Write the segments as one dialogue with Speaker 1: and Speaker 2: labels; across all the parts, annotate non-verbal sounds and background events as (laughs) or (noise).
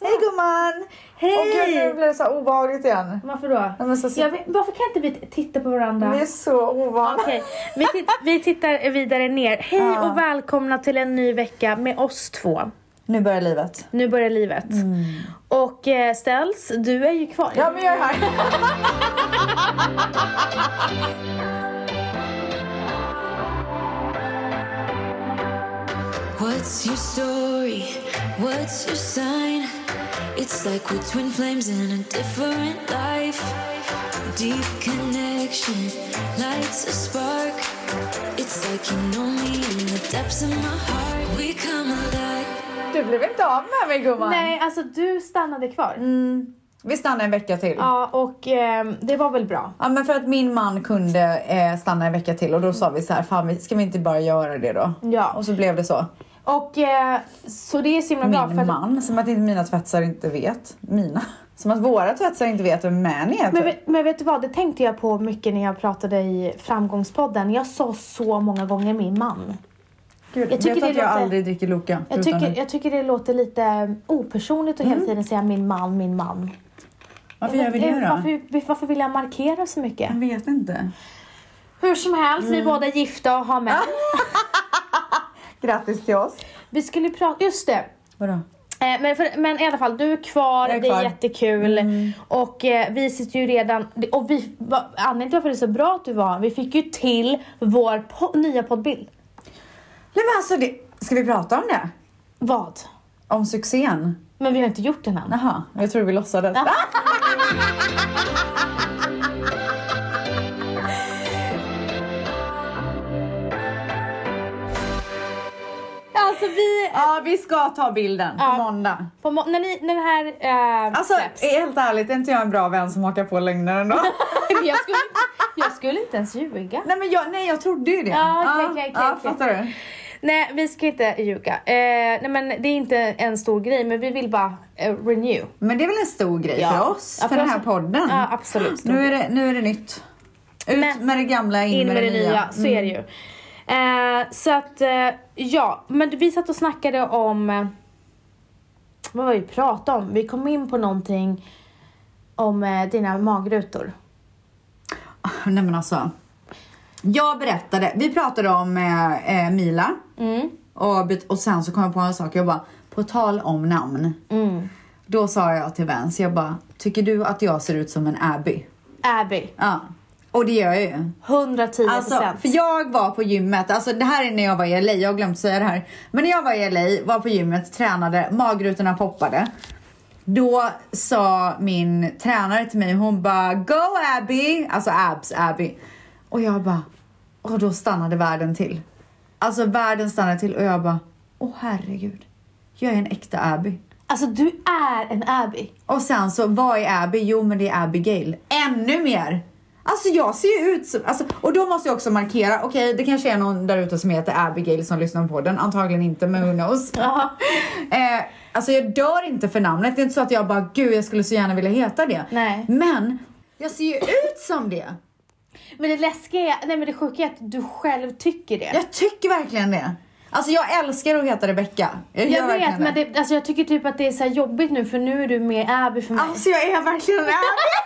Speaker 1: Hej gumman! Hej!
Speaker 2: Åh gud, nu blev det så här obehagligt igen.
Speaker 1: Varför då?
Speaker 2: Nej, men så, så,
Speaker 1: Jag vet, varför kan inte vi t- titta på varandra?
Speaker 2: Vi är så ovana.
Speaker 1: Okej, vi, tit- vi tittar vidare ner. Hej
Speaker 2: Ja.
Speaker 1: och välkomna till en ny vecka med oss två.
Speaker 2: Nu börjar livet.
Speaker 1: Nu börjar livet. Och eh, Ställs, du är ju kvar.
Speaker 2: Mm. Ja, men jag är här.
Speaker 3: What's your story? What's your sign? It's like we're twin flames in a different life. Deep connection lights a spark. It's like you know me in the depths of my heart. We come alive.
Speaker 2: Du blev inte av med mig gumman.
Speaker 1: Nej, alltså du stannade kvar.
Speaker 2: Mm. Vi stannade en vecka till. Ja.
Speaker 1: Ja, och eh, det var väl bra.
Speaker 2: men för att min man kunde eh, stanna en vecka till och då sa vi så här, fan vi- ska vi inte bara göra det då?
Speaker 1: Ja.
Speaker 2: Och så blev det så.
Speaker 1: Och eh, så det är så himla bra.
Speaker 2: Min
Speaker 1: för att-
Speaker 2: man, som att inte mina tvättar inte vet. Mina? Som att våra tvättar inte vet vem man är.
Speaker 1: Men,
Speaker 2: typ.
Speaker 1: vet- men vet du vad, det tänkte jag på mycket när jag pratade i Framgångspodden. Jag sa så många gånger min man.
Speaker 2: Gud,
Speaker 1: jag
Speaker 2: vet
Speaker 1: tycker
Speaker 2: du
Speaker 1: det
Speaker 2: att jag
Speaker 1: låter-
Speaker 2: aldrig dricker Loka?
Speaker 1: Jag
Speaker 2: förutom
Speaker 1: tycker,
Speaker 2: nu?
Speaker 1: jag tycker det låter lite eh, opersonligt att hela tiden säga min man, min man.
Speaker 2: Mm. Varför gör vi
Speaker 1: Eh,
Speaker 2: det då?
Speaker 1: Varför, varför vill jag markera så mycket?
Speaker 2: Jag vet inte.
Speaker 1: Hur som helst,
Speaker 2: Mm.
Speaker 1: vi är båda gifta och har män.
Speaker 2: Ah. Grattis till oss.
Speaker 1: Vi skulle prata, just det.
Speaker 2: Vadå?
Speaker 1: Eh, Men, för, men i alla fall, du är kvar,
Speaker 2: Jag är
Speaker 1: det är
Speaker 2: kvar. Mm.
Speaker 1: jättekul. Och eh, vi sitter ju redan... det- Och vi, va, anledningen till varför det är så bra att du var vi fick ju till vår po- nya poddbild.
Speaker 2: Nej men alltså, det... ska vi prata om det?
Speaker 1: Vad?
Speaker 2: Om succén?
Speaker 1: Men vi har inte gjort den än.
Speaker 2: Jaha, jag tror vi låtsades.
Speaker 1: Alltså vi...
Speaker 2: Ja, vi ska ta bilden
Speaker 1: Ja.
Speaker 2: på måndag.
Speaker 1: På må- när, ni, när den här eh,
Speaker 2: Alltså,
Speaker 1: släpps.
Speaker 2: helt ärligt, är inte jag en bra vän som hakar på lögner ändå?
Speaker 1: (laughs) jag, skulle, jag skulle inte ens ljuga.
Speaker 2: nej, men jag, nej, jag trodde ju det.
Speaker 1: Ja, okej, okej, okej,
Speaker 2: ja,
Speaker 1: okej.
Speaker 2: fattar du?
Speaker 1: Nej, vi ska inte ljuga. Eh, nej, men det är inte en stor grej, men vi vill bara eh, renew.
Speaker 2: Men det är väl en stor grej
Speaker 1: Ja.
Speaker 2: för oss,
Speaker 1: Ja,
Speaker 2: för,
Speaker 1: för
Speaker 2: den här
Speaker 1: oss-
Speaker 2: podden.
Speaker 1: Ja, absolut.
Speaker 2: Nu är det, nu är det nytt. Ut
Speaker 1: Men-
Speaker 2: med det Mm. gamla, in,
Speaker 1: in med det nya, så är det ju. Eh, så att, eh, ja, men vi satt och snackade om, eh, vad var det vi pratade om? Vi kom in på någonting om eh, dina magrutor.
Speaker 2: Nej men alltså. Jag berättade, vi pratade om eh, eh, Mila. Och, byt- och sen så kom jag på en sak, jag bara, på tal om namn. Då sa jag till Vens, jag bara, tycker du att jag ser ut som en Abby?
Speaker 1: Abby,
Speaker 2: Ja. Och det gör jag ju.
Speaker 1: 110
Speaker 2: Alltså, för jag var på gymmet, alltså det här är när jag var i LA, jag har glömt säga det här. Men när jag var i LA, var på gymmet, tränade, magrutorna poppade. Då sa min tränare till mig, hon bara Go Abby! Alltså abs, Abby. Och jag bara, och då stannade världen till. Alltså världen stannade till och jag bara, åh herregud. Jag är en äkta Abby.
Speaker 1: Alltså du är en Abby.
Speaker 2: Och sen så, vad är Abby? Jo men det är Abigail. Ännu mer! Alltså jag ser ju ut som, alltså, och då måste jag också markera, okej det kanske är någon där ute som heter Abigail som lyssnar på den, antagligen inte men who knows. (laughs) eh, alltså jag dör inte för namnet, det är inte så att jag bara gud jag skulle så gärna vilja heta det.
Speaker 1: Nej.
Speaker 2: Men jag ser ju ut som det!
Speaker 1: Men det läskiga är, nej men det sjuka är att du själv tycker det.
Speaker 2: Jag tycker verkligen det. Alltså jag älskar att heta Rebecca. Jag, gör
Speaker 1: Jag vet
Speaker 2: verkligen
Speaker 1: men det, alltså jag tycker typ att det är så här jobbigt nu för nu är du mer Abby för mig.
Speaker 2: Alltså jag är verkligen Abby! (laughs)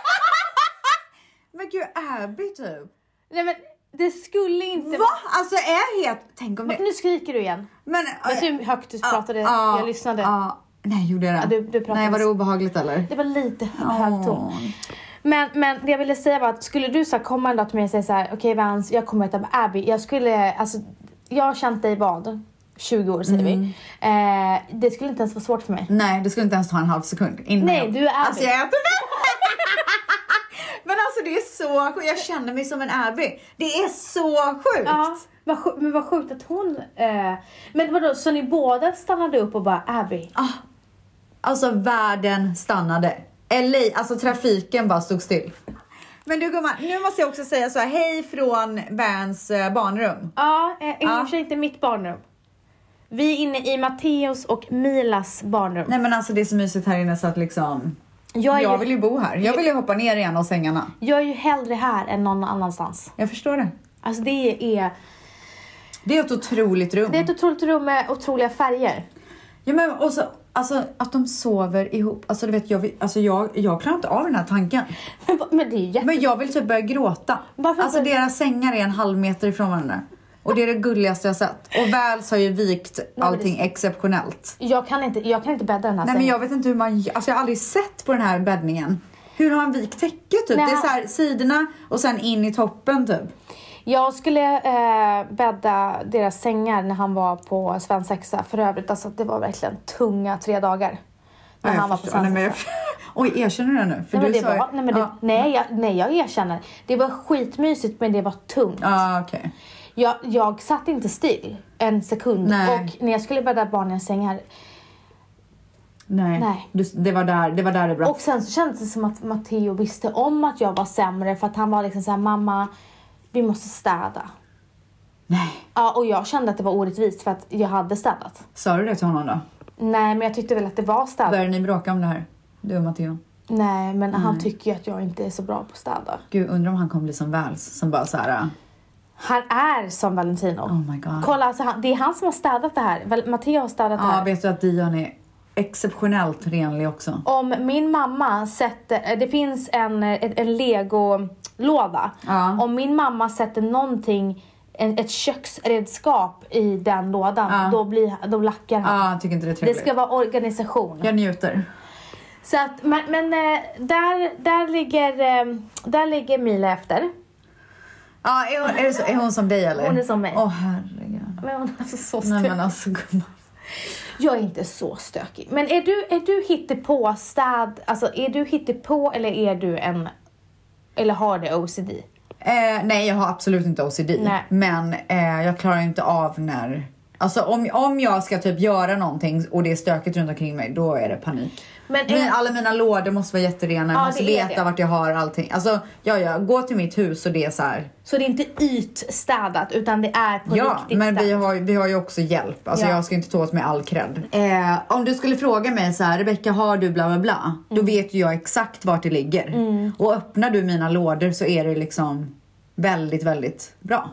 Speaker 2: men gud Abby typ.
Speaker 1: Nej men det skulle inte
Speaker 2: Va? Alltså är het? Tänk om det...
Speaker 1: Nu skriker du igen.
Speaker 2: Men,
Speaker 1: Vet du hur högt du pratade?
Speaker 2: Ah,
Speaker 1: jag lyssnade.
Speaker 2: ah, nej, gjorde jag det?
Speaker 1: Ja, du- du pratade
Speaker 2: nej, var det
Speaker 1: så-
Speaker 2: obehagligt eller?
Speaker 1: Det var lite hö-
Speaker 2: Åh.
Speaker 1: hög ton. Men, men det jag ville säga var att skulle du så här komma en dag till mig och säga så här, okej Vans, jag kommer att heta Abby. Jag skulle, alltså, jag har känt dig vad? 20 år säger vi. Eh, det skulle inte ens vara svårt för mig.
Speaker 2: Nej, det skulle inte ens ta en halv sekund innan
Speaker 1: Nej,
Speaker 2: jag...
Speaker 1: du är Abby.
Speaker 2: Alltså jag äter det. (laughs) Men alltså det är så sjukt. Jag känner mig som en Abby. Det är så sjukt.
Speaker 1: Ja, vad sju- men vad sjukt att hon... Eh, men vadå, så ni båda stannade upp och bara Abby?
Speaker 2: Ah. Alltså världen stannade. LA, alltså trafiken bara stod still. Men du gumman, nu måste jag också säga så här, hej från Vans eh, barnrum.
Speaker 1: Ja, eh, i och
Speaker 2: Ja.
Speaker 1: för sig inte mitt barnrum. Vi är inne i Matteos och Milas barnrum.
Speaker 2: Nej men alltså det är så mysigt här inne så att liksom,
Speaker 1: jag, är
Speaker 2: jag
Speaker 1: ju,
Speaker 2: vill ju bo här. Jag vill ju hoppa ner i en av sängarna.
Speaker 1: jag är ju hellre här än någon annanstans.
Speaker 2: Jag förstår det.
Speaker 1: Alltså det är...
Speaker 2: Det är ett otroligt rum.
Speaker 1: Det är ett otroligt rum med otroliga färger. (laughs)
Speaker 2: Ja, men och så Alltså att de sover ihop. Alltså du vet, jag, vill- alltså, jag, jag klarar inte av den här tanken.
Speaker 1: Men, va- men det är ju jätte...
Speaker 2: Men jag vill typ börja gråta.
Speaker 1: Varför
Speaker 2: alltså
Speaker 1: börjar-
Speaker 2: deras sängar är en halv meter ifrån varandra. Och det är det gulligaste jag sett. Och Vals har ju vikt allting exceptionellt.
Speaker 1: Jag kan inte, jag kan inte bädda den
Speaker 2: Nej
Speaker 1: här
Speaker 2: men
Speaker 1: sängen.
Speaker 2: jag vet inte hur man Alltså jag har aldrig sett på den här bäddningen. Hur har han vikt täcke typ?
Speaker 1: Nej,
Speaker 2: det är
Speaker 1: han-
Speaker 2: så här sidorna och sen in i toppen typ.
Speaker 1: Jag skulle eh, bädda deras sängar när han var på svensexa. För övrigt, alltså det var verkligen tunga tre dagar. När
Speaker 2: Ja, jag
Speaker 1: han var på
Speaker 2: förstår. Nej, men jag-
Speaker 1: svensexa.
Speaker 2: (laughs) Oj, erkänner du det nu? För
Speaker 1: Nej
Speaker 2: du
Speaker 1: men, det
Speaker 2: sa ju-
Speaker 1: var, nej, men det,
Speaker 2: Ja,
Speaker 1: nej, jag, nej jag erkänner. Det var skitmysigt men det var tungt.
Speaker 2: ja Ah, okej.
Speaker 1: Jag, jag satt inte still en sekund.
Speaker 2: Nej.
Speaker 1: Och när jag skulle bädda barnens sängar.
Speaker 2: Nej.
Speaker 1: Nej.
Speaker 2: Du, det, var där, det var där det brast.
Speaker 1: Och sen så kändes det som att Matteo visste om att jag var sämre. För att han var liksom såhär, mamma vi måste städa.
Speaker 2: Nej.
Speaker 1: Ja, och jag kände att det var orättvist för att jag hade städat.
Speaker 2: Sa du det till honom då?
Speaker 1: Nej men jag tyckte väl att det var städat.
Speaker 2: Började ni bråka om det här? Du och Matteo?
Speaker 1: Nej, men han tycker ju att jag inte är så bra på att städa.
Speaker 2: Gud, undrar om han kommer bli som Vals som bara så här.
Speaker 1: Han är som Valentino.
Speaker 2: Oh my god.
Speaker 1: Kolla, alltså, han, det är han som har städat det här. Väl, Matteo har städat det
Speaker 2: Ja,
Speaker 1: här.
Speaker 2: "Ah, vet du att Dion är exceptionellt renlig också?
Speaker 1: Om min mamma sätter... eh, Det finns en, eh, en, en legolåda.
Speaker 2: Ja.
Speaker 1: Om min mamma sätter någonting, en, ett köksredskap i den lådan,
Speaker 2: Ja.
Speaker 1: då, blir, då lackar
Speaker 2: Ja,
Speaker 1: han.
Speaker 2: han Ah, tycker inte det är
Speaker 1: Det
Speaker 2: trevligt.
Speaker 1: ska vara organisation.
Speaker 2: Jag njuter.
Speaker 1: Så att, men men eh, där, där, ligger, eh, där ligger Mila efter.
Speaker 2: Ja, Ah, är hon, är, det så, är hon som dig eller?
Speaker 1: Hon är som mig.
Speaker 2: Åh herregud.
Speaker 1: Men hon är alltså så
Speaker 2: Nej
Speaker 1: stökig.
Speaker 2: men alltså gumman.
Speaker 1: Jag är inte så stökig. Men är du, är du hittepå städ, alltså är du hittepå eller är du en, eller har du OCD?
Speaker 2: Eh, nej, jag har absolut inte OCD.
Speaker 1: Nej.
Speaker 2: Men eh, jag klarar inte av när... Alltså om, om jag ska typ göra någonting och det är stökigt runt omkring mig, då är det panik.
Speaker 1: Men eh,
Speaker 2: Min,
Speaker 1: är,
Speaker 2: alla mina lådor måste vara jätterena, jag
Speaker 1: Ja,
Speaker 2: måste
Speaker 1: det är
Speaker 2: veta
Speaker 1: det.
Speaker 2: vart jag har allting. Alltså, ja, ja, gå till mitt hus och det är så här.
Speaker 1: så det är inte ytstädat utan det är på
Speaker 2: Ja,
Speaker 1: riktigt
Speaker 2: men
Speaker 1: städat?
Speaker 2: vi har, ju- vi har ju också hjälp. Alltså
Speaker 1: Ja.
Speaker 2: jag ska inte ta åt mig all cred. Eh, om du skulle fråga mig så här, Rebecka har du bla bla bla? Då vet ju jag exakt vart det ligger. Och öppnar du mina lådor så är det liksom väldigt, väldigt bra.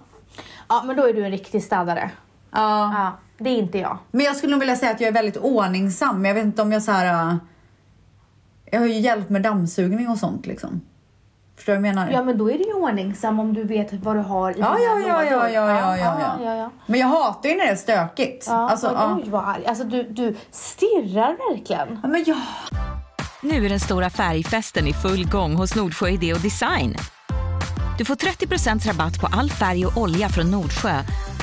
Speaker 1: Ja, men då är du en riktig städare.
Speaker 2: Ja.
Speaker 1: Ja, det är inte jag.
Speaker 2: Men jag skulle nog vilja säga att jag är väldigt ordningsam. Men jag vet inte om jag så här. eh, Jag har ju hjälp med dammsugning och sånt liksom. Förstår du vad jag menar?
Speaker 1: Ja, men då är du ju ordningsam om du vet vad du har i
Speaker 2: Ja,
Speaker 1: dina
Speaker 2: ja, ja, ja, ja,
Speaker 1: lådor.
Speaker 2: ja,
Speaker 1: ja,
Speaker 2: ja,
Speaker 1: ja, ja.
Speaker 2: Men jag hatar ju när det är stökigt.
Speaker 1: Ja,
Speaker 2: alltså,
Speaker 1: alltså,
Speaker 2: ja.
Speaker 1: oj, vad arg. Alltså du, du stirrar verkligen.
Speaker 2: Ja, men jag...
Speaker 4: Nu är den stora färgfesten i full gång hos Nordsjö Idé och Design. Du får 30 rabatt på all färg och olja från Nordsjö.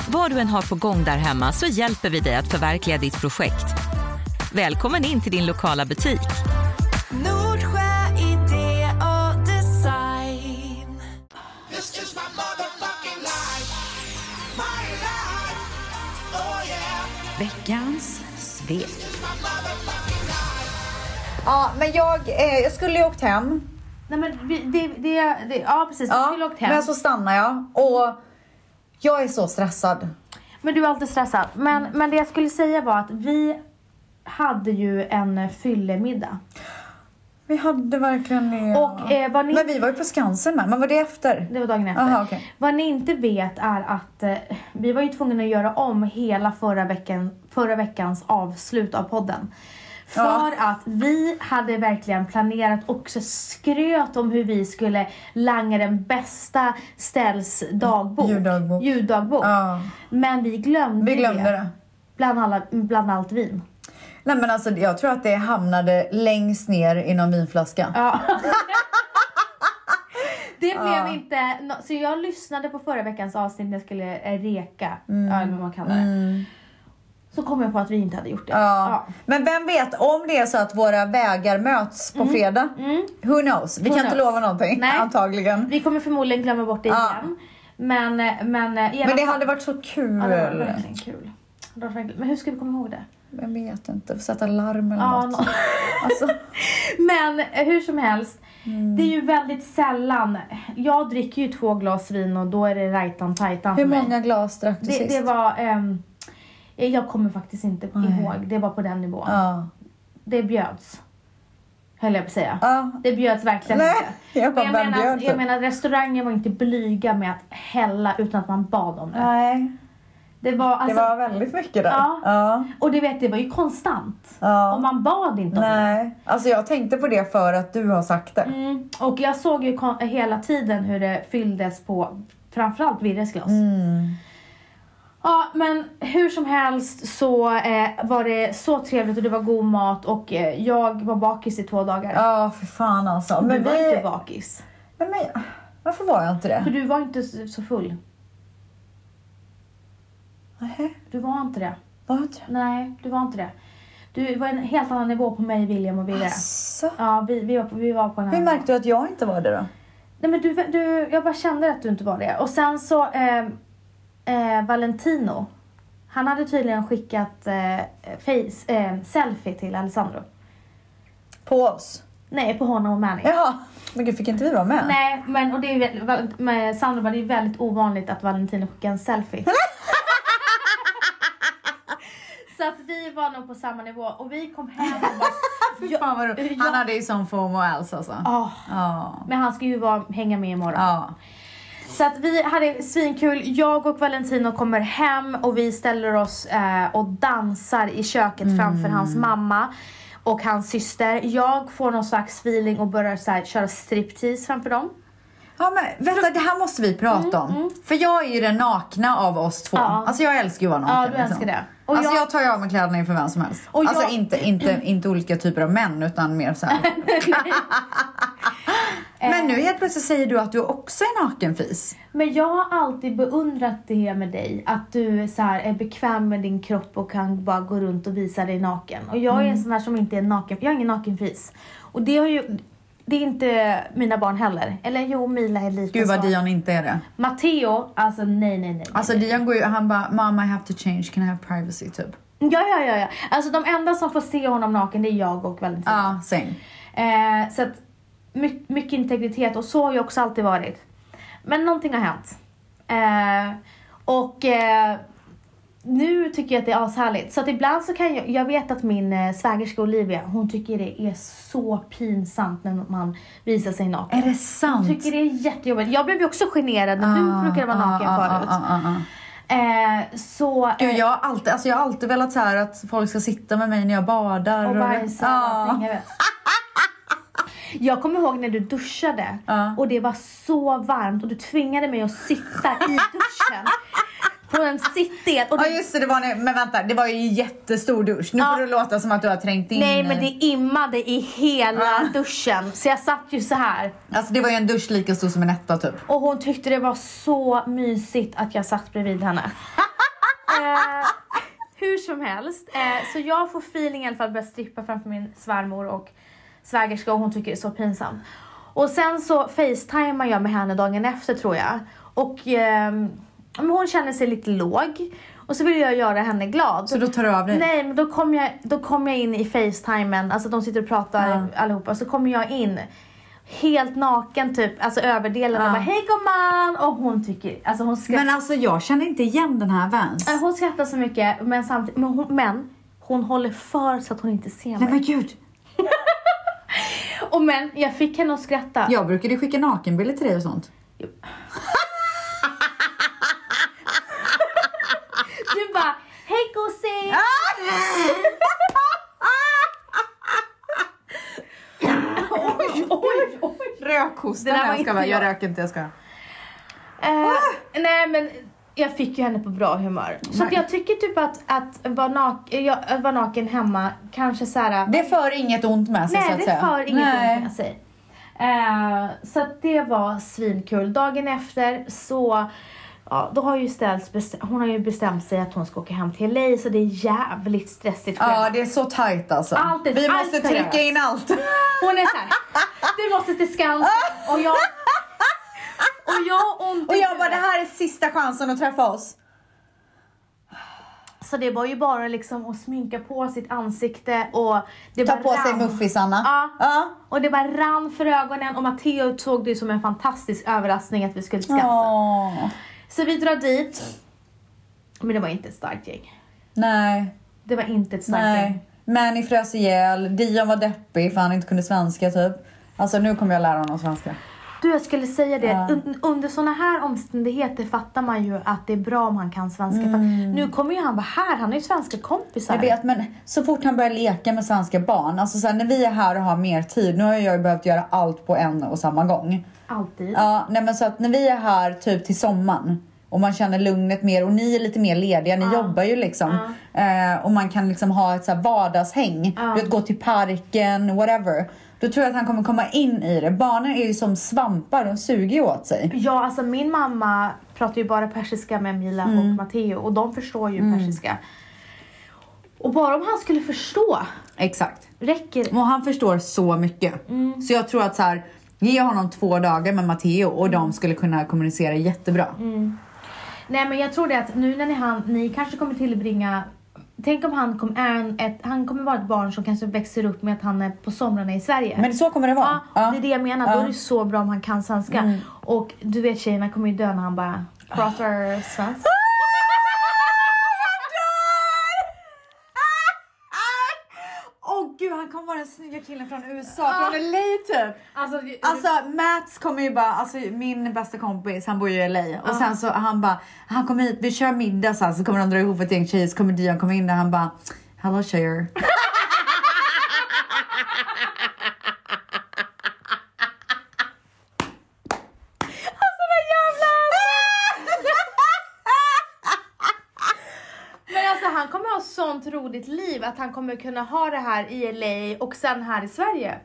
Speaker 4: Vad du än har på gång där hemma så hjälper vi dig att förverkliga ditt projekt. Välkommen in till din lokala butik.
Speaker 3: Nordsjö idé och design.
Speaker 5: This is my motherfucking life. My life. Oh yeah.
Speaker 4: Veckans svep.
Speaker 5: My motherfucking life.
Speaker 2: Ja, men jag, eh, jag skulle ju åkt hem.
Speaker 1: Nej men vi- det, det, det ja precis, du skulle åkt hem.
Speaker 2: men alltså- så stannar jag. Och jag är så stressad.
Speaker 1: Men du är alltid stressad. Men, men det jag skulle säga var att vi hade ju en fyllemiddag.
Speaker 2: Vi hade verkligen det.
Speaker 1: Och, eh, var ni-
Speaker 2: Men vi var ju på Skansen med. Men var det efter?
Speaker 1: Det var dagen efter.
Speaker 2: Aha, okej.
Speaker 1: Vad ni inte vet är att eh, vi var ju tvungna att göra om hela förra, veckan, förra veckans avslut av podden. För
Speaker 2: Ja.
Speaker 1: att vi hade verkligen planerat och så skröt om hur vi skulle langa den bästa Stells dagbok.
Speaker 2: Ljuddagbok.
Speaker 1: Ljuddagbok.
Speaker 2: Ja.
Speaker 1: Men vi glömde,
Speaker 2: Vi glömde det.
Speaker 1: Bland, alla, bland allt vin.
Speaker 2: Nej men alltså jag tror att det hamnade längst ner i någon vinflaska.
Speaker 1: Ja. Det blev inte... nå- Så jag lyssnade på förra veckans avsnitt när jag skulle eh, reka,
Speaker 2: Mm.
Speaker 1: ja, eller vad man kallar det. Så kom jag på att vi inte hade gjort det.
Speaker 2: Ja.
Speaker 1: Ja.
Speaker 2: Men vem vet om det är så att våra vägar möts på fredag. Who knows? Vi
Speaker 1: Mm. Who
Speaker 2: kan inte
Speaker 1: knows?
Speaker 2: lova någonting
Speaker 1: Nej.
Speaker 2: antagligen.
Speaker 1: Vi kommer förmodligen glömma bort det
Speaker 2: Ja.
Speaker 1: igen. Men, eh, men, eh, i alla
Speaker 2: Men det
Speaker 1: fall-
Speaker 2: hade varit så kul.
Speaker 1: ja, det var verkligen kul. Det var verkligen- Men hur ska vi komma ihåg det?
Speaker 2: Jag vet inte, sätta larm eller
Speaker 1: Ja,
Speaker 2: något.
Speaker 1: nå-
Speaker 2: (laughs) Alltså,
Speaker 1: Men eh, hur som helst,
Speaker 2: Mm.
Speaker 1: det är ju väldigt sällan. Jag dricker ju två glas vin och då är det rajtan tajtan
Speaker 2: hur
Speaker 1: för mig.
Speaker 2: många glas drack du
Speaker 1: Det,
Speaker 2: sist?
Speaker 1: det var... ehm, jag kommer faktiskt inte ihåg. Det var på den nivån.
Speaker 2: Ja.
Speaker 1: Det bjöds. Höll jag på att säga.
Speaker 2: Ja.
Speaker 1: Det bjöds verkligen
Speaker 2: Nej,
Speaker 1: inte.
Speaker 2: jag bara,
Speaker 1: Men
Speaker 2: vem
Speaker 1: menar,
Speaker 2: bjöd
Speaker 1: att,
Speaker 2: det?
Speaker 1: jag menar restaurangen var inte blyga med att hälla utan att man bad om det.
Speaker 2: Nej.
Speaker 1: Det var, alltså,
Speaker 2: det var väldigt mycket där.
Speaker 1: Ja.
Speaker 2: ja.
Speaker 1: Och du vet, det var ju konstant.
Speaker 2: Ja.
Speaker 1: Och man bad inte om det.
Speaker 2: Nej, alltså jag tänkte på det för att du har sagt det.
Speaker 1: Mm, och jag såg ju kon- hela tiden hur det fylldes på framförallt Virres glas.
Speaker 2: Mm.
Speaker 1: Ja, men hur som helst så eh, var det så trevligt och det var god mat och eh, jag var bakis i två dagar.
Speaker 2: Ja, för fan alltså.
Speaker 1: du
Speaker 2: Men
Speaker 1: var
Speaker 2: vi...
Speaker 1: inte bakis.
Speaker 2: Men, men, varför var jag inte
Speaker 1: För
Speaker 2: det?
Speaker 1: du var inte så så full.
Speaker 2: Nähä,
Speaker 1: Du var inte det.
Speaker 2: var jag inte det?
Speaker 1: Nej, du var inte det. Du var en helt annan nivå på mig, William och Virre.
Speaker 2: Asså.
Speaker 1: Ja, vi, vi, var på, vi var på en
Speaker 2: Hur
Speaker 1: annan
Speaker 2: märkte du att jag inte var det då?
Speaker 1: Nej men du, du, jag bara kände att du inte var det. Och sen så, eh, eh, Valentino. Han hade tydligen skickat eh, face, eh, selfie till Alessandro.
Speaker 2: På oss?
Speaker 1: Nej, på honom och Manny.
Speaker 2: Jaha, men gud fick inte vi vara med?
Speaker 1: Nej, men och det är väl- val- med Sandro bara, det är väldigt ovanligt att Valentino skickar
Speaker 2: (laughs)
Speaker 1: en selfie. så att vi var nog på samma nivå och vi kom hem och bara...
Speaker 2: Fy fan vad roligt. Han
Speaker 1: Ja.
Speaker 2: hade ju sån fomo alls alltså.
Speaker 1: "Ah."
Speaker 2: Ja.
Speaker 1: Men han ska ju vara, hänga med imorgon.
Speaker 2: Ja.
Speaker 1: Så att vi hade svinkul. Jag och Valentino kommer hem och vi ställer oss eh, och dansar i köket
Speaker 2: Mm.
Speaker 1: framför hans mamma och hans syster. Jag får någon slags feeling och börjar så här, köra striptease framför dem.
Speaker 2: Ja men vänta, det här måste vi prata om. För jag är ju den nakna av oss två.
Speaker 1: Mm, Ja.
Speaker 2: Alltså jag älskar ju att vara naken.
Speaker 1: Ja, du älskar det. Och
Speaker 2: alltså
Speaker 1: jag-
Speaker 2: jag... tar ju av mig kläderna inför vem som helst.
Speaker 1: Och jag-
Speaker 2: Alltså inte,
Speaker 1: (clears throat)
Speaker 2: inte, inte olika typer av män utan mer
Speaker 1: (laughs)
Speaker 2: så här. men
Speaker 1: Eh.
Speaker 2: nu helt plötsligt säger du att du också är nakenfis.
Speaker 1: Men jag har alltid beundrat det med dig, att du så här, är bekväm med din kropp och kan bara gå runt och visa dig naken. Och jag är
Speaker 2: Mm.
Speaker 1: en sån här som inte är naken, jag är ingen nakenfis. Och det har ju, det är inte mina barn heller. Eller jo, Mila är lite
Speaker 2: Gud vad
Speaker 1: så.
Speaker 2: Dion inte är det.
Speaker 1: Matteo, alltså nej, nej, nej.
Speaker 2: Alltså Dion går ju, han bara mamma I have to change, can I have privacy typ.
Speaker 1: Ja, ja, ja, ja. Alltså de enda som får se honom naken det är jag och Valentino.
Speaker 2: Ja, same.
Speaker 1: Eh, så att my- mycket integritet och så har jag också alltid varit. Men någonting har hänt. Eh, och eh, nu tycker jag att det är ashärligt. Så att ibland så kan jag, jag vet att min eh, svägerska Olivia, hon tycker det är så pinsamt när man visar sig naken.
Speaker 2: Är det sant?
Speaker 1: Tycker det är jättejobbigt. Jag blev ju också generad när du brukade vara naken
Speaker 2: ah,
Speaker 1: förut.
Speaker 2: ah, ah, ah.
Speaker 1: Eh, så...
Speaker 2: Gud, jag, har alltid, alltså jag har alltid velat så här att folk ska sitta med mig när jag badar.
Speaker 1: och bajsa och
Speaker 2: Ja.
Speaker 1: allting,
Speaker 2: (laughs)
Speaker 1: jag vet. Jag kommer ihåg när du duschade
Speaker 2: Ja.
Speaker 1: och det var så varmt och du tvingade mig att sitta
Speaker 2: (laughs)
Speaker 1: i duschen på en sittdel. Och
Speaker 2: Ja
Speaker 1: du,
Speaker 2: just det, det var en, men vänta, det var ju en jättestor dusch. Nu
Speaker 1: Ja.
Speaker 2: får det låta som att du har trängt in
Speaker 1: nej
Speaker 2: i-
Speaker 1: men det immade i hela
Speaker 2: Ja.
Speaker 1: duschen så jag satt ju så här
Speaker 2: Alltså det var ju en dusch lika stor som en etta typ.
Speaker 1: och hon tyckte det var så mysigt att jag satt
Speaker 2: (laughs)
Speaker 1: bredvid henne. eh, hur som helst, eh, så jag får feeling i alla fall att börja strippa framför min svärmor och svägerska och hon tycker det är så pinsamt. Och sen så facetimar jag med henne dagen efter tror jag. Och ehm, men hon känner sig lite låg och så vill jag göra henne glad.
Speaker 2: Så då tar du av dig?
Speaker 1: Nej, men då kom jag, då kom jag in i facetimen, alltså de sitter och pratar allihopa, så kommer jag in helt naken typ, alltså överdelen och bara hej gumman! Och hon tycker, alltså hon skrattar.
Speaker 2: Men alltså jag känner inte igen den här Vans.
Speaker 1: Nej, Hon skrattar så mycket men samtidigt, men hon, men hon håller för så att hon inte ser
Speaker 2: Nej (laughs)
Speaker 1: mig.
Speaker 2: men gud.
Speaker 1: Och men jag fick henne att skratta.
Speaker 2: Jag brukade skicka nakenbilder till dig och sånt.
Speaker 1: Du bara, hej gossi!
Speaker 2: Ah!
Speaker 1: oj, oj, oj.
Speaker 2: Rökhosta.
Speaker 1: Det
Speaker 2: Nej,
Speaker 1: där var
Speaker 2: jag ska
Speaker 1: inte
Speaker 2: bara, jag
Speaker 1: jag.
Speaker 2: röker inte, jag ska.
Speaker 1: Eh, nej men jag fick ju henne på bra humör. Så att
Speaker 2: Ah! Nej.
Speaker 1: jag tycker typ att, att vara naken, jag, att vara naken hemma kanske så här.
Speaker 2: Det för inget ont med sig så
Speaker 1: nej
Speaker 2: att
Speaker 1: det
Speaker 2: säga.
Speaker 1: för inget
Speaker 2: Nej.
Speaker 1: ont med sig. Eh, så att det var svinkul. Dagen efter så Ja, då har ju ställts, bestä- hon har ju bestämt sig att hon ska åka hem till LA så det är jävligt stressigt
Speaker 2: Ja
Speaker 1: schema.
Speaker 2: det är så tajt alltså.
Speaker 1: Allt är-
Speaker 2: Vi
Speaker 1: allt
Speaker 2: måste
Speaker 1: är
Speaker 2: trycka
Speaker 1: seriöst.
Speaker 2: in
Speaker 1: (laughs)
Speaker 2: allt.
Speaker 1: Hon är såhär, du måste till Skansen och jag... Och jag har ont i
Speaker 2: Och jag bara
Speaker 1: huvudet.
Speaker 2: det här är sista chansen att träffa oss.
Speaker 1: Så det var ju bara liksom att sminka på sitt ansikte och... Det
Speaker 2: Ta
Speaker 1: bara
Speaker 2: på sig
Speaker 1: rann.
Speaker 2: muffisarna.
Speaker 1: Ja.
Speaker 2: ja.
Speaker 1: Och det bara rann för ögonen och Matteo såg det ju som en fantastisk överraskning att vi skulle till Skansen.
Speaker 2: Åh.
Speaker 1: Så vi drar dit. Men det var inte ett starkt gäng.
Speaker 2: Nej.
Speaker 1: Det var inte ett starkt
Speaker 2: Nej.
Speaker 1: gäng.
Speaker 2: Manny frös ihjäl, Dion var deppig för han inte kunde svenska typ. Alltså nu kommer jag lära honom svenska.
Speaker 1: du, jag skulle säga det.
Speaker 2: Ja.
Speaker 1: Un, under sådana här omständigheter fattar man ju att det är bra om han kan svenska. För nu kommer ju han vara här, han har ju svenska kompisar.
Speaker 2: Mm. Jag vet, men så fort han börjar leka med svenska barn, alltså sen när vi är här och har mer tid, nu har jag ju behövt göra allt på en och samma gång.
Speaker 1: Alltid.
Speaker 2: Ja, nej men så att när vi är här typ till sommaren och man känner lugnet mer och ni är lite mer lediga, ni jobbar ju liksom. Eh, och man kan liksom ha ett så här vardagshäng, du vet, gå till parken, whatever. Då tror jag att han kommer komma in i det. Barnen är ju som svampar, de suger ju åt sig.
Speaker 1: Ja, alltså min mamma pratar ju bara persiska med Mila och
Speaker 2: Mm.
Speaker 1: Matteo och de förstår ju persiska. Och bara om han skulle förstå
Speaker 2: Exakt.
Speaker 1: räcker
Speaker 2: Och han förstår så mycket.
Speaker 1: Mm.
Speaker 2: Så jag tror att så här, ge honom två dagar med Matteo och
Speaker 1: Mm.
Speaker 2: de skulle kunna kommunicera jättebra.
Speaker 1: Nej men jag tror det att nu när ni, han, ni kanske kommer tillbringa Tänk om han, kom, är en, ett, han kommer vara ett barn som kanske växer upp med att han är på somrarna i Sverige.
Speaker 2: Men så kommer det vara.
Speaker 1: ja, Mm. det är det jag menar. Då är det så bra om han kan svenska. Och du vet tjejerna kommer ju dö när han bara pratar svenska.
Speaker 2: Åh gud, han kommer vara den snygga killen från USA, från LA typ.
Speaker 1: Alltså,
Speaker 2: Alltså Mats kommer ju bara, alltså min bästa kompis, han bor ju i LA. Och sen så han bara, han kommer hit, vi kör middag sen så kommer de dra ihop ett gäng tjejer så kommer Dion komma in där han bara, hello tjejer.
Speaker 1: Men alltså han kommer ha sånt roligt liv att han kommer kunna ha det här i LA och sen här i Sverige.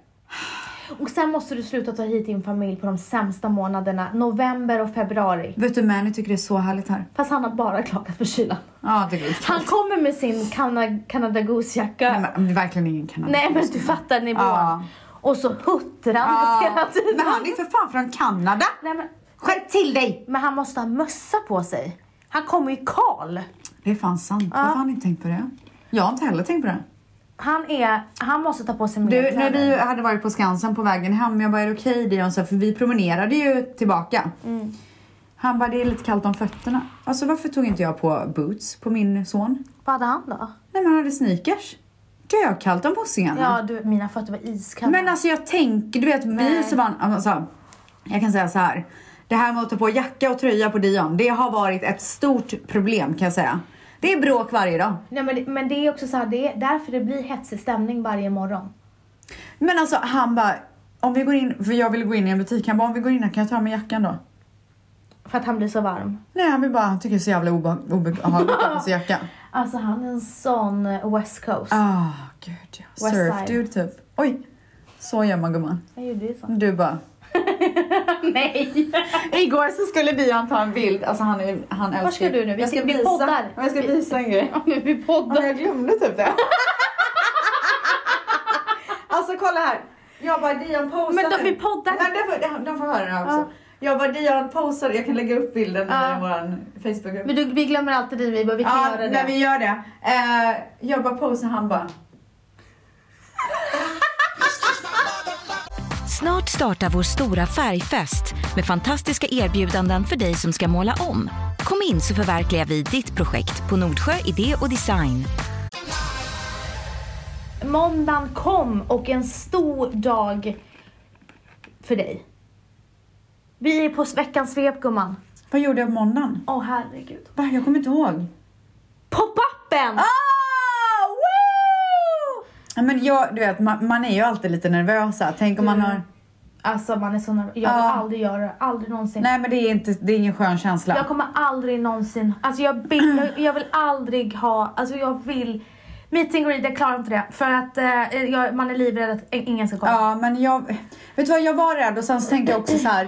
Speaker 1: Och sen måste du sluta ta hit din familj på de sämsta månaderna, november och februari.
Speaker 2: Vet du Mani tycker det är så härligt här.
Speaker 1: Fast han har bara klagat på kylan.
Speaker 2: Ja, det är gulligt.
Speaker 1: Han kommer med sin Canada, Canada Goose-jacka.
Speaker 2: Nej, men Verkligen ingen kanadensare.
Speaker 1: Nej men du fattar nivån.
Speaker 2: Ja.
Speaker 1: Och så huttrar han hela
Speaker 2: Ja,
Speaker 1: tiden.
Speaker 2: men han är för fan från Kanada!
Speaker 1: Nej, men,
Speaker 2: Skärp till dig!
Speaker 1: men han måste ha mössa på sig. Han kommer ju kal.
Speaker 2: Det är fan sant. Varför har han inte tänkt på det? Jag har inte heller tänkt på det.
Speaker 1: Han är, han måste ta på sig mer
Speaker 2: Du,
Speaker 1: kläder.
Speaker 2: när vi hade varit på Skansen på vägen hem, jag bara, är det okej Dion? Så, här, för vi promenerade ju tillbaka. Han bara, det är lite kallt om fötterna. Alltså varför tog inte jag på boots på min son?
Speaker 1: Vad hade han då?
Speaker 2: Nej men han hade sneakers. Dökallt om possingarna.
Speaker 1: Ja du, mina fötter var iskalla.
Speaker 2: Men alltså jag tänker, du vet vi så var, alltså, jag kan säga så här. Det här med att ta på jacka och tröja på Dion, det har varit ett stort problem kan jag säga. Det är bråk varje dag.
Speaker 1: Nej, men, det, men det är också så här, det är därför det blir hetsig stämning varje morgon.
Speaker 2: Men alltså han bara, om vi går in, för jag vill gå in i en butik, han bara om vi går in här kan jag ta med jackan då?
Speaker 1: För att han blir så varm.
Speaker 2: Nej han vill bara, han tycker det är så jävla obe- obehagligt att ha på sig jacka.
Speaker 1: Alltså han är en sån eh, west coast.
Speaker 2: Ah gud ja.
Speaker 1: West
Speaker 2: Surf
Speaker 1: side.
Speaker 2: dude typ. Oj. Så gör man gumman.
Speaker 1: Jag gjorde ju så.
Speaker 2: Du bara.
Speaker 1: (laughs) Nej!
Speaker 2: Igår så skulle Dion ta en bild, alltså han, är- han älskar
Speaker 1: Vart ska du nu? Vi
Speaker 2: Jag ska
Speaker 1: sitter- vi
Speaker 2: visa,
Speaker 1: poddar.
Speaker 2: jag ska visa en grej.
Speaker 1: Vi
Speaker 2: Ja,
Speaker 1: poddar.
Speaker 2: jag glömde typ
Speaker 1: (laughs)
Speaker 2: det. alltså kolla här. Jag bara Dion posade.
Speaker 1: Men de- vi poddar.
Speaker 2: Nej, de, får, de, de får höra det här också. Jag bara Dion posade. Jag kan lägga upp bilden
Speaker 1: Ja.
Speaker 2: i vår Facebookgrupp.
Speaker 1: Men du, vi glömmer alltid dig, vi bara vi kan
Speaker 2: Ja,
Speaker 1: göra det.
Speaker 2: när vi gör det. Eh, jag bara posar, han bara.
Speaker 4: Snart startar vår stora färgfest med fantastiska erbjudanden för dig som ska måla om. Kom in så förverkligar vi ditt projekt på Nordsjö Idé och Design.
Speaker 1: Måndagen kom och en stor dag för dig. Vi är på veckans svep gumman.
Speaker 2: Vad gjorde jag på måndagen?
Speaker 1: Åh herregud.
Speaker 2: Va, jag kommer inte ihåg.
Speaker 1: Pop-upen!
Speaker 2: Ah, woo! Ja, Men jag, du vet, man, man är ju alltid lite nervös. här. Tänk om
Speaker 1: Mm.
Speaker 2: man har...
Speaker 1: Alltså man är så nervös. Jag vill
Speaker 2: Ja.
Speaker 1: aldrig göra det, aldrig någonsin.
Speaker 2: Ah. Nej men det är, inte, det är ingen skön känsla.
Speaker 1: Jag kommer aldrig någonsin, alltså jag vill, jag,
Speaker 2: Ah.
Speaker 1: jag vill aldrig ha, alltså jag vill Meet and greet, jag klarar inte det. För att eh, jag, man är livrädd att in- ingen ska komma.
Speaker 2: Ja, men jag... Vet du vad, jag var rädd och sen så tänkte jag också så här.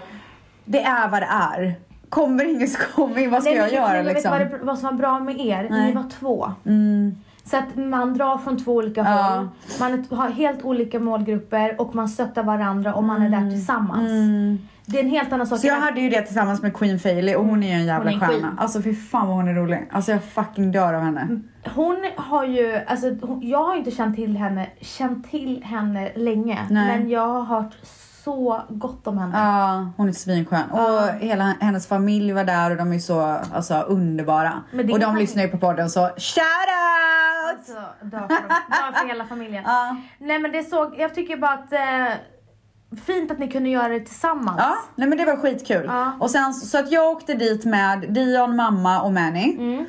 Speaker 2: Det är vad det är. Kommer ingen så kommer ingen. Vad ska
Speaker 1: Nej, men
Speaker 2: jag göra
Speaker 1: jag
Speaker 2: liksom?
Speaker 1: vet vad, det, vad som var bra med er, ni
Speaker 2: Nej. Mm.
Speaker 1: var två. Så att man drar från två olika
Speaker 2: Ja.
Speaker 1: håll, man är- har helt olika målgrupper och man stöttar varandra och man är där tillsammans. Det är en helt annan
Speaker 2: Mm.
Speaker 1: sak.
Speaker 2: Så Alltså, jag
Speaker 1: än-
Speaker 2: hade ju det tillsammans med Queen Failey och hon är ju en jävla
Speaker 1: Hon är en
Speaker 2: stjärna.
Speaker 1: queen. Mm.
Speaker 2: Alltså fy fan vad hon är rolig. Alltså jag fucking dör av henne.
Speaker 1: Hon har ju, alltså hon, jag har inte känt till henne, känt till henne länge.
Speaker 2: Nej.
Speaker 1: Men jag har hört så gott om henne.
Speaker 2: Ja, hon är svinskön. Och hela hennes familj var där och de är så alltså, underbara.
Speaker 1: Men det
Speaker 2: Och de
Speaker 1: kan-
Speaker 2: lyssnar ju på podden så shout out!
Speaker 1: Alltså, dör för, dem. dör för hela familjen.
Speaker 2: Ja.
Speaker 1: Nej men det såg, jag tycker bara att eh, fint att ni kunde göra det tillsammans.
Speaker 2: Ja, nej men det var skitkul.
Speaker 1: Ja.
Speaker 2: Och sen, så att jag åkte dit med Dion, mamma och Manny.
Speaker 1: Mm.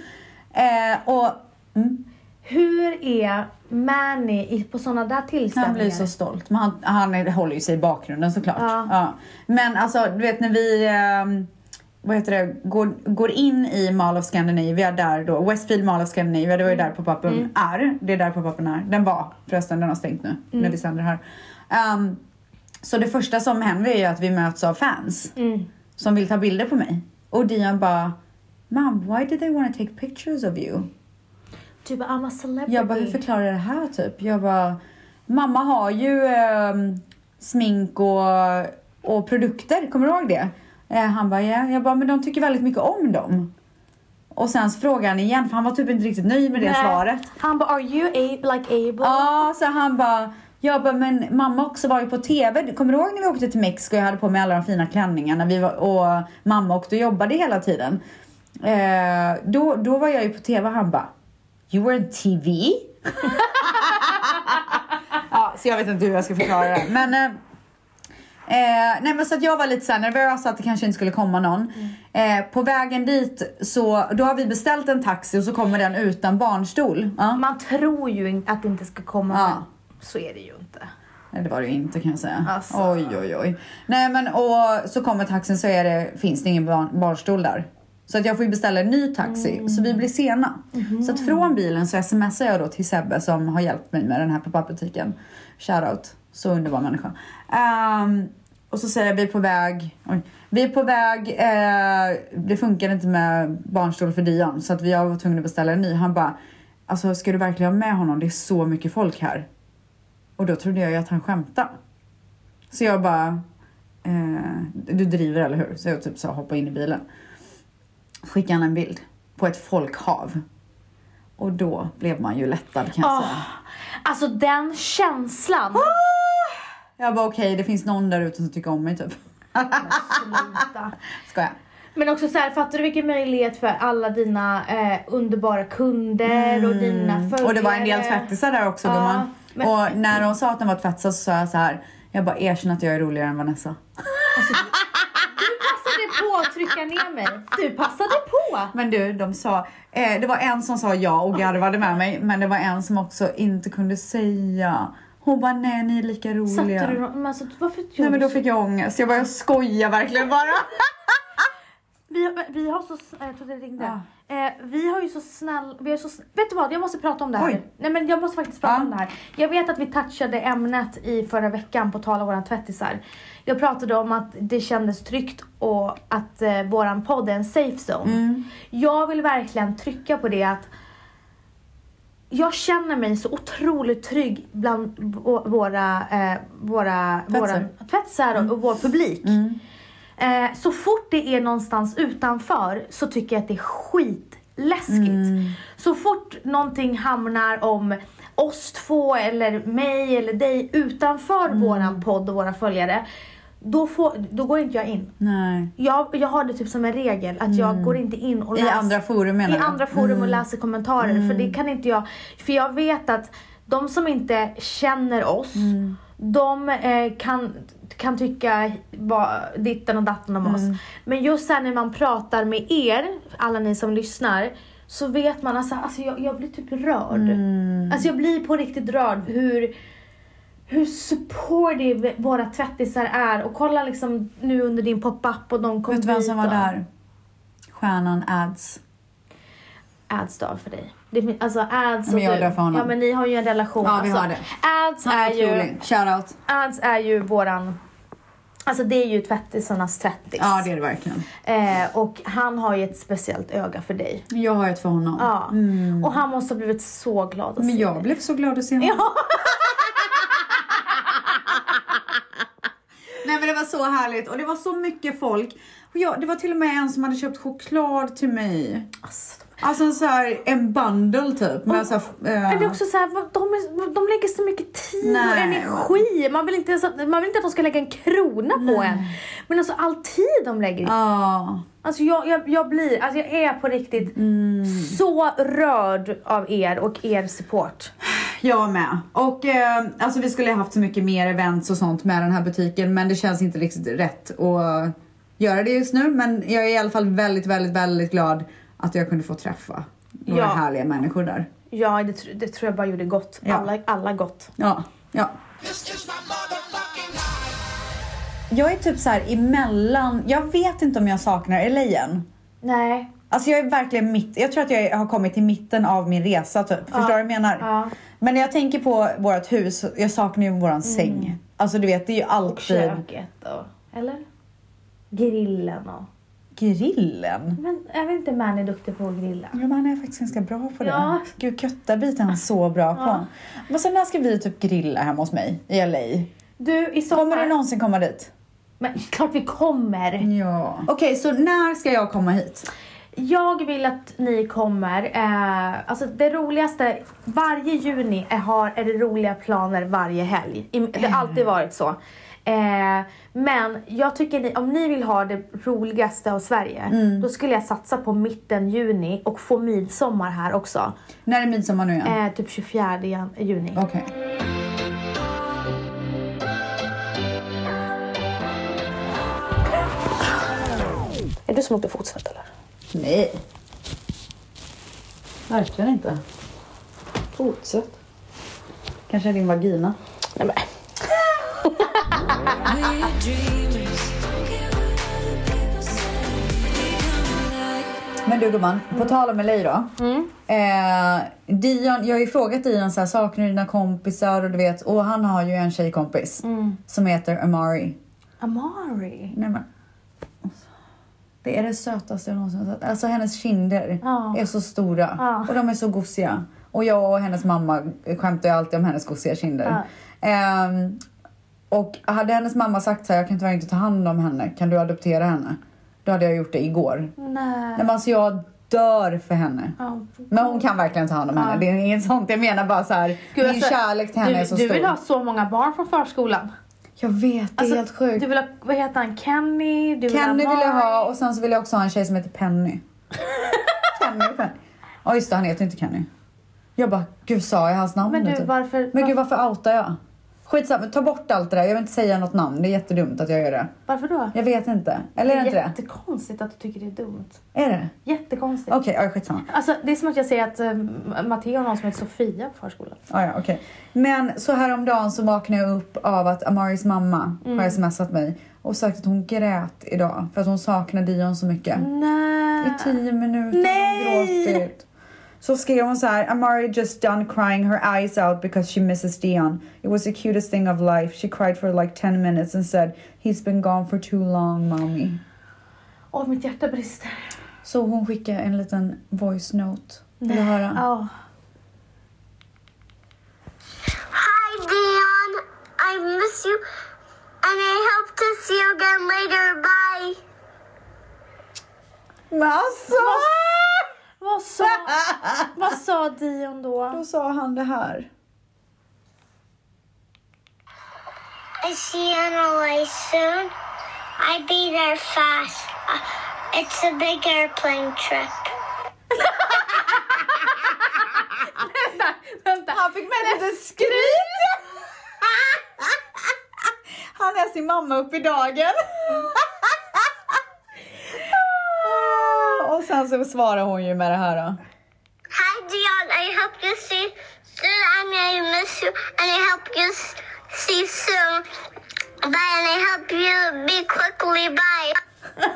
Speaker 2: Eh, och mm,
Speaker 1: Hur är Manny i- på sådana där tillställningar?
Speaker 2: han blir så stolt. Men han, han är, håller ju sig i bakgrunden såklart.
Speaker 1: Ja.
Speaker 2: Men alltså, du vet när vi ehm, vad heter det, går, går in i Mall of Scandinavia där då, Westfield Mall of Scandinavia, det var ju där pop-upen är. Det är där pop-upen är. Den var förresten, den har stängt nu när vi sänder här. Ehm, så det första som händer är ju att vi möts av fans. som vill ta bilder på mig. Och Dion bara, Mom, why did they want to take pictures of you?
Speaker 1: Typ I'm a celebrity.
Speaker 2: Jag bara, hur förklarar jag det här typ? Jag bara, mamma har ju ehm, smink och, och produkter, kommer du ihåg det? Eh, han bara, ja. Jag bara, men de tycker väldigt mycket om dem. Och sen så frågade han igen, för han var typ inte riktigt nöjd med det
Speaker 1: Nej.
Speaker 2: svaret.
Speaker 1: Han bara are you a- like able?
Speaker 2: Ja, så han bara, jag bara, men mamma också var ju på TV. Kommer du ihåg när vi åkte till Mexiko och jag hade på mig alla de fina klänningarna vi var, och mamma åkte och jobbade hela tiden? Eh, då, då var jag ju på TV och han bara, you were on TV? (laughs) ja, så jag vet inte hur jag ska förklara det. Men, eh, eh, nej men så att jag var lite såhär nervös att det kanske inte skulle komma någon. Eh, på vägen dit så, då har vi beställt en taxi och så kommer den utan barnstol. Ja.
Speaker 1: Man tror ju in- att det inte ska komma
Speaker 2: Ja.
Speaker 1: men så är det ju inte.
Speaker 2: Nej, det var det ju inte kan jag säga.
Speaker 1: Alltså.
Speaker 2: Oj, oj, oj. Nej, men och så kommer taxin så är det, finns det ingen barn, barnstol där. Så att jag får ju beställa en ny taxi, så vi blir sena. Så att från bilen så smsar jag då till Sebbe som har hjälpt mig med den här pop-up-butiken. Shoutout, så underbar människa. Ehm, och så säger jag vi är på väg, oj, vi är på väg, eh, det funkar inte med barnstol för Dion så att vi var tvungna att beställa en ny. Han bara, alltså ska du verkligen ha med honom? Det är så mycket folk här. Och då trodde jag ju att han skämtade. Så jag bara, eh, du driver eller hur? Så jag typ sa hoppa in i bilen. Skickade han en bild på ett folkhav. Och då blev man ju lättad kan jag
Speaker 1: Ah.
Speaker 2: säga.
Speaker 1: Alltså den
Speaker 2: (laughs)
Speaker 1: känslan.
Speaker 2: Jag bara okej, det finns någon där ute som tycker om mig typ.
Speaker 1: Sluta.
Speaker 2: Skojar.
Speaker 1: Men också så här, fattar du vilken möjlighet för alla dina eh, underbara kunder och dina följare?
Speaker 2: Mm. Och det var en del tvättisar där också
Speaker 1: Ja,
Speaker 2: gumman.
Speaker 1: men-
Speaker 2: Och när de sa att de var tvättisar så sa jag så här. Jag bara erkänn att jag är roligare än Vanessa.
Speaker 1: Passade på att trycka Alltså, ner mig. Du passade på.
Speaker 2: Men du, de sa, eh, det var en som sa ja och garvade med mig, men det var en som också inte kunde säga. Hon bara, nej ni är lika
Speaker 1: Satte
Speaker 2: roliga.
Speaker 1: du någon, men alltså, varför gjorde
Speaker 2: Nej men då
Speaker 1: du-
Speaker 2: fick jag ångest, jag bara, jag skojar verkligen bara.
Speaker 1: vi, vi har så, s- eh, jag trodde det ringde.
Speaker 2: Ja.
Speaker 1: Eh, vi har ju så snäll, vi har så, sn- vet du vad jag måste prata om det här.
Speaker 2: Oj.
Speaker 1: Nej men jag måste faktiskt prata
Speaker 2: Ja.
Speaker 1: om det här. Jag vet att vi touchade ämnet i förra veckan på tal om våra tvättisar. Jag pratade om att det kändes tryggt och att eh, våran podd är en safe zone.
Speaker 2: Mm.
Speaker 1: Jag vill verkligen trycka på det att jag känner mig så otroligt trygg bland vå- våra, eh, våra
Speaker 2: Tvättisar.
Speaker 1: våran- tvättisar
Speaker 2: Mm.
Speaker 1: och, och vår publik. Eh, så fort det är någonstans utanför så tycker jag att det är skitläskigt.
Speaker 2: Mm.
Speaker 1: Så fort någonting hamnar om oss två eller mig eller dig utanför
Speaker 2: Mm.
Speaker 1: våran podd och våra följare, då, får, då går inte jag
Speaker 2: Mm.
Speaker 1: in.
Speaker 2: Nej.
Speaker 1: Jag, jag har det typ som en regel att jag går inte in och
Speaker 2: Mm. I
Speaker 1: läser
Speaker 2: andra forum menar
Speaker 1: Alltså, i
Speaker 2: du?
Speaker 1: andra forum och läser kommentarer för
Speaker 2: Mm.
Speaker 1: det kan inte jag. För jag vet att de som inte känner oss,
Speaker 2: Mm.
Speaker 1: de eh, kan, kan tycka va, ditten och datten om
Speaker 2: Mm.
Speaker 1: oss. Men just sen när man pratar med er, alla ni som lyssnar, så vet man alltså, alltså jag, jag blir typ rörd.
Speaker 2: Mm.
Speaker 1: Alltså jag blir på riktigt rörd hur hur supportive våra tvättisar är och kolla liksom nu under din pop-up och de kom
Speaker 2: Vet du vem
Speaker 1: dit
Speaker 2: som var
Speaker 1: och-
Speaker 2: där? Stjärnan Ads.
Speaker 1: ads då för dig? Det, fin- alltså ads och
Speaker 2: Men jag
Speaker 1: du.
Speaker 2: dör för honom.
Speaker 1: Ja men ni har ju en relation.
Speaker 2: Ja, vi
Speaker 1: alltså,
Speaker 2: har det.
Speaker 1: Ads är, ju,
Speaker 2: Otrolig. Shoutout.
Speaker 1: ads är ju våran... Alltså det är ju tvättisarnas tvättis.
Speaker 2: Ja det är det verkligen.
Speaker 1: eh, och han har ju ett speciellt öga för dig.
Speaker 2: Jag har ett för honom.
Speaker 1: Ja. Och han måste ha blivit så glad att
Speaker 2: Mm. Men
Speaker 1: se
Speaker 2: jag
Speaker 1: dig.
Speaker 2: blev så glad att se honom. (laughs) Nej men det var så härligt och det var så mycket folk. Och jag, det var till och med en som hade köpt choklad till mig.
Speaker 1: Alltså,
Speaker 2: Alltså så här, en bundle typ. Med så här, eh,
Speaker 1: Men det är också så här, vad- de, är, vad- de lägger så mycket tid och
Speaker 2: Nej.
Speaker 1: energi. Man vill, inte ens att, man vill inte att de ska lägga en krona på en. Men alltså all tid de lägger
Speaker 2: Ja.
Speaker 1: Alltså jag, jag, jag blir, alltså Mm. jag är på riktigt så rörd av er och er support.
Speaker 2: Jag med. Och eh, alltså vi skulle ha haft så mycket mer events och sånt med den här butiken men det känns inte riktigt rätt att göra det just nu. Men jag är i alla fall väldigt, väldigt, väldigt glad att jag kunde få träffa några
Speaker 1: Ja.
Speaker 2: härliga människor där.
Speaker 1: Ja, det, tr- det tror jag bara gjorde gott.
Speaker 2: Ja.
Speaker 1: Alla, alla gott.
Speaker 2: Ja, ja.
Speaker 5: This is my motherfucking life.
Speaker 2: Jag är typ så här emellan, jag vet inte om jag saknar LA än.
Speaker 1: Nej.
Speaker 2: Alltså jag är verkligen mitt, jag tror att jag har kommit till mitten av min resa typ. Förstår du vad jag menar?
Speaker 1: Ja.
Speaker 2: Men när jag tänker på vårt hus, jag saknar ju våran säng. Alltså du vet, det är ju alltid...
Speaker 1: Köket och... Eller? Grillen och...
Speaker 2: Grillen?
Speaker 1: Men är inte Mani duktig på att grilla?
Speaker 2: Ja, men han är faktiskt ganska bra på det.
Speaker 1: Ja.
Speaker 2: Gud, köttarbiten är han så bra på. Men sen när ska vi typ grilla hemma hos mig i LA?
Speaker 1: Du, i sommar...
Speaker 2: Kommer du någonsin komma dit?
Speaker 1: Men klart vi kommer!
Speaker 2: Ja. Okej, så när ska jag komma hit?
Speaker 1: Jag vill att ni kommer. Eh, alltså det roligaste, varje juni är, har, är det roliga planer varje helg. I, det har alltid varit så. Eh, men jag tycker ni, om ni vill ha det roligaste av Sverige, då skulle jag satsa på mitten juni och få midsommar här också.
Speaker 2: När är midsommar nu igen?
Speaker 1: Eh, typ 24 jan- juni.
Speaker 2: Okej.
Speaker 1: Är du som åkte fotsvett eller?
Speaker 2: Nej. Verkligen inte. Fotsött. Kanske din vagina.
Speaker 1: Nej men.
Speaker 3: We're dreamers. Don't care what other people say. We come alive.
Speaker 2: Men du gumman, på tal om LA då.
Speaker 1: Mm.
Speaker 2: Eh, Dion, jag har ju frågat Dion så här, saknar du dina kompisar och du vet, och han har ju en tjejkompis
Speaker 1: Mm.
Speaker 2: som heter Amari.
Speaker 1: Amari.
Speaker 2: Nej men. alltså, Det är det sötaste jag någonsin har sett. Alltså hennes kinder
Speaker 1: Ja.
Speaker 2: är så stora
Speaker 1: Ja.
Speaker 2: och de är så gosiga. Och jag och hennes mamma skämtar ju alltid om hennes gosiga kinder. Ehm, och hade hennes mamma sagt så här, jag kan tyvärr inte ta hand om henne, kan du adoptera henne? Då hade jag gjort det igår.
Speaker 1: Nej.
Speaker 2: Nej men alltså jag dör för henne.
Speaker 1: Ja.
Speaker 2: Men hon kan verkligen ta hand om henne. Det är inget sånt. Jag menar bara så här. min
Speaker 1: Gud, alltså,
Speaker 2: kärlek till henne
Speaker 1: du,
Speaker 2: är så
Speaker 1: du
Speaker 2: stor.
Speaker 1: vill ha så många barn från förskolan.
Speaker 2: Jag vet, det är helt sjukt.
Speaker 1: Alltså, Du vill ha, vad heter han, Kenny? Du
Speaker 2: Kenny vill jag
Speaker 1: Mari.
Speaker 2: ha och sen så vill jag också ha en tjej som heter
Speaker 1: (laughs)
Speaker 2: Penny. Kenny, Penny. Ja just det, han heter inte Kenny. Jag bara, gud sa jag hans namn
Speaker 1: Men
Speaker 2: nu, typ?
Speaker 1: du, varför-
Speaker 2: Men gud varför outar jag? Skitsamma, ta bort allt det där. Jag vill inte säga något namn. Det är jättedumt att jag gör det.
Speaker 1: Varför då?
Speaker 2: Jag vet inte. Eller är det inte det?
Speaker 1: Jättekonstigt att du tycker det är dumt.
Speaker 2: Är det?
Speaker 1: Jättekonstigt.
Speaker 2: Okej, ja, skitsamma.
Speaker 1: Alltså, det är som att jag säger att eh, Matteo har någon som heter Sofia på förskolan.
Speaker 2: Ah, ja, okej. Men så häromdagen så vaknade jag upp av att Amaris mamma
Speaker 1: Mm.
Speaker 2: har smsat mig och sagt att hon grät idag för att hon saknar Dion så mycket.
Speaker 1: Mm. Nej.
Speaker 2: I tio minuter
Speaker 1: Nej!
Speaker 2: har hon gråtit. Så skrev hon så här, Amari just done crying her eyes out because she misses Dion. It was the cutest thing of life. She cried for like 10 minutes and said he's been gone for too long mommy.
Speaker 1: Åh, mitt hjärta brister.
Speaker 2: Så hon skickade en liten voice note. Vill du höra?
Speaker 1: Ja.
Speaker 6: Hi, Dion. I miss you, and I hope to see you again later. Bye.
Speaker 2: Men alltså!
Speaker 1: Vad sa,
Speaker 2: (laughs)
Speaker 1: vad sa Dion då?
Speaker 2: Då sa han det här.
Speaker 6: I see you in LA soon. I be there fast. Uh, It's a big airplane trip.
Speaker 1: Vänta.
Speaker 2: Han fick med lite skryt! Han är sin mamma upp i dagen. Och sen så svarar hon ju med det här då.
Speaker 6: Hi, Dion. I hope you see soon, and I miss you, and I hope you s- see soon. Bye, and I hope you be quickly. Bye.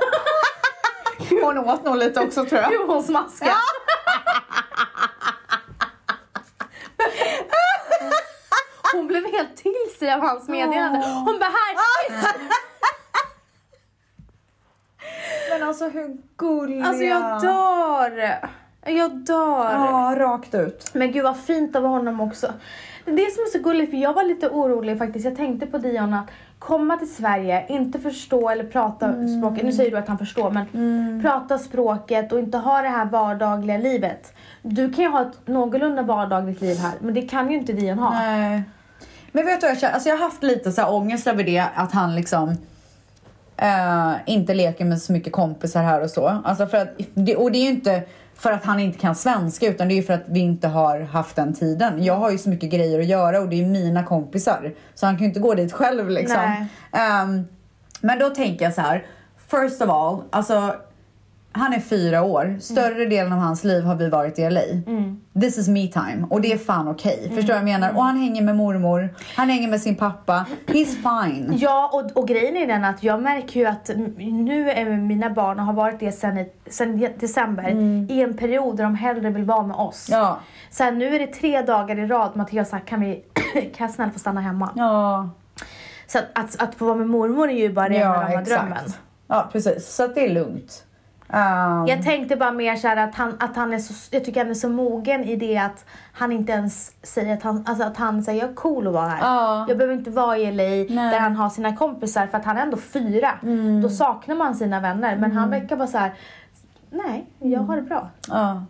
Speaker 2: Hon åt nog lite också tror jag.
Speaker 1: Jo, hon smaskade.
Speaker 2: (laughs)
Speaker 1: Hon blev helt till sig av hans meddelande. Hon bara här,
Speaker 2: Ah, Men alltså hur gulliga.
Speaker 1: Alltså jag dör! Jag dör!
Speaker 2: Ja, rakt ut.
Speaker 1: Men gud vad fint av honom också. Det är det som är så gulligt för jag var lite orolig faktiskt. Jag tänkte på Dion att komma till Sverige, inte förstå eller prata
Speaker 2: Mm.
Speaker 1: språket. Nu säger du att han förstår men prata språket och inte ha det här vardagliga livet. Du kan ju ha ett någorlunda vardagligt liv här men det kan ju inte Dion ha.
Speaker 2: Nej. Men vet du vad jag känner? Alltså jag har haft lite så här ångest över det att han liksom eh, inte leker med så mycket kompisar här och så. Alltså för att, det- och det är ju inte för att han inte kan svenska utan det är ju för att vi inte har haft den tiden. Jag har ju så mycket grejer att göra och det är ju mina kompisar. Så han kan ju inte gå dit själv liksom. Ehm, men då tänker jag så här. First of all, alltså han är fyra år. Större
Speaker 1: Mm.
Speaker 2: delen av hans liv har vi varit i LA. This is me time. Och det är fan okej.
Speaker 1: Mm.
Speaker 2: Förstår du vad jag menar? Och han hänger med mormor. Han hänger med sin pappa. He's fine.
Speaker 1: Ja, och, och grejen är den att jag märker ju att m- nu är mina barn, och har varit det sen, i, sen i december, i en period där de hellre vill vara med oss.
Speaker 2: Mm. Ja.
Speaker 1: Så här, nu är det tre dagar i rad Mattias sa kan vi (clears throat) kan jag snälla få stanna hemma?
Speaker 2: Ja,
Speaker 1: Så att, att, att få vara med mormor är ju bara rena
Speaker 2: ja
Speaker 1: rama drömmen.
Speaker 2: exakt. Ja, precis. Så att det är lugnt. Ehm,
Speaker 1: Jag tänkte bara mer så här att han, att han är så, jag tycker han är så mogen i det att han inte ens säger att han, alltså att han säger jag är cool att vara här.
Speaker 2: Ja.
Speaker 1: Jag behöver inte vara i LA där han har sina kompisar för att han är ändå fyra.
Speaker 2: Mm.
Speaker 1: Då saknar man sina vänner men han verkar bara så här. nej jag
Speaker 2: Mm.
Speaker 1: har det bra.
Speaker 2: Ja.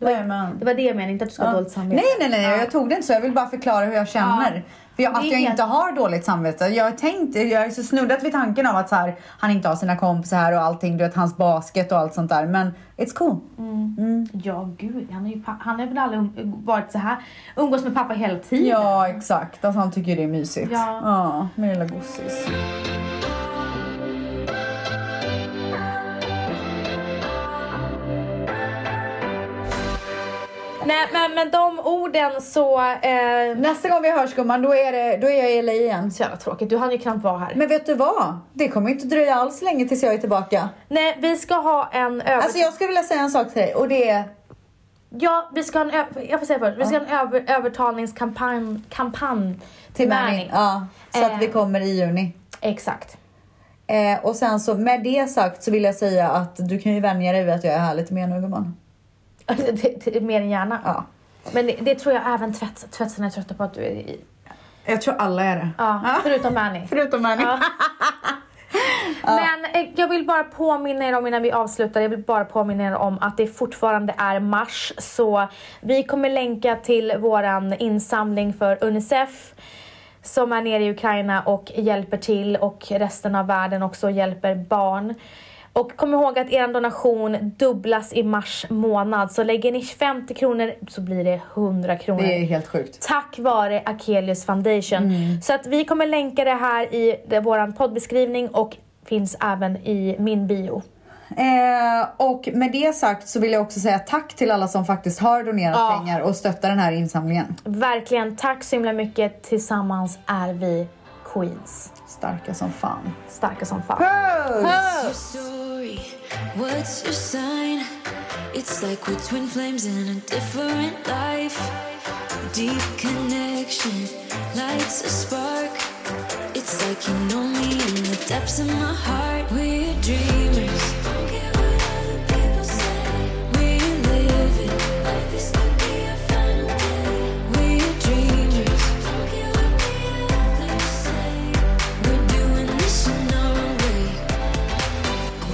Speaker 2: Jajamän.
Speaker 1: Det var det jag menade, inte att du ska ha dåligt
Speaker 2: Nej,
Speaker 1: samvete.
Speaker 2: nej, nej. Jag tog det inte så. Jag vill bara förklara hur jag känner. För jag,
Speaker 1: Det är
Speaker 2: att jag
Speaker 1: helt-
Speaker 2: inte har dåligt samvete. Jag har tänkt, jag är så snuddat vid tanken av att så här, han inte har sina kompisar här och allting. Du vet, hans basket och allt sånt där. Men it's cool.
Speaker 1: Ja gud, han, är ju, pa- han har väl aldrig um- varit så här umgås med pappa hela tiden.
Speaker 2: Ja, exakt. Alltså, han tycker det är mysigt.
Speaker 1: Ja.
Speaker 2: med lilla gossis.
Speaker 1: Nej men med de orden så, eh,
Speaker 2: Nästa gång vi hörs gumman, då är, det, då är jag i LA igen.
Speaker 1: så jävla tråkigt, du hann ju knappt vara här.
Speaker 2: Men vet du vad? Det kommer inte dröja alls länge tills jag är tillbaka.
Speaker 1: Nej vi ska ha en över...
Speaker 2: Alltså jag skulle vilja säga en sak till dig och det är...
Speaker 1: Ja, vi ska ha en, ö- jag får säga först, vi ska ha en över, övertalningskampanj kampanj
Speaker 2: Till Manning. Ja, så
Speaker 1: Eh.
Speaker 2: att vi kommer i juni.
Speaker 1: Exakt. (laughs)
Speaker 2: Eh, och sen så med det sagt så vill jag säga att du kan ju vänja dig vid att jag är här lite mer nu gumman.
Speaker 1: Det- det- Mer än gärna.
Speaker 2: Ja.
Speaker 1: Men det, det tror jag även tvätt, tvätsen är trötta på att du är i.
Speaker 2: Jag tror alla är det.
Speaker 1: Ja, förutom (laughs) Manny.
Speaker 2: (laughs) Förutom Annie.
Speaker 1: Ja. Men eh, jag vill bara påminna er om innan vi avslutar, jag vill bara påminna er om att det fortfarande är mars. Så vi kommer länka till våran insamling för Unicef som är nere i Ukraina och hjälper till och resten av världen också hjälper barn. Och kom ihåg att er donation dubblas i mars månad. Så lägger ni 50 kronor så blir det 100 kronor
Speaker 2: Det är helt sjukt.
Speaker 1: tack vare Akelius Foundation. Så att vi kommer länka det här i det- våran poddbeskrivning och finns även i min bio.
Speaker 2: Eh, och med det sagt så vill jag också säga tack till alla som faktiskt har donerat
Speaker 1: Ja.
Speaker 2: pengar och stöttar den här insamlingen.
Speaker 1: Verkligen, tack så himla mycket. Tillsammans är vi Queens.
Speaker 2: Starka som fan.
Speaker 1: Starka som fan.
Speaker 3: your story? What's your sign? It's like we're twin flames in a different life. Deep connection lights a spark. It's like you know me in the depths of my heart. We're dreamers. Don't care what other people say. We're living like this could be our final day. We're dreamers. Don't care what the others say. We're doing this in our own way.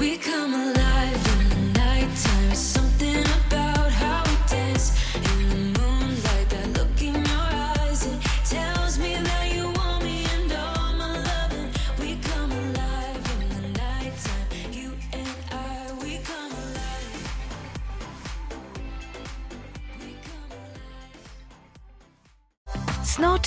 Speaker 3: We come alive in the nighttime. It's something about how we dance in the moonlight. That look in your eyes, it tells me that you want me and all my loving. We come alive in the nighttime. You and I, we come alive. We come alive.
Speaker 4: Snart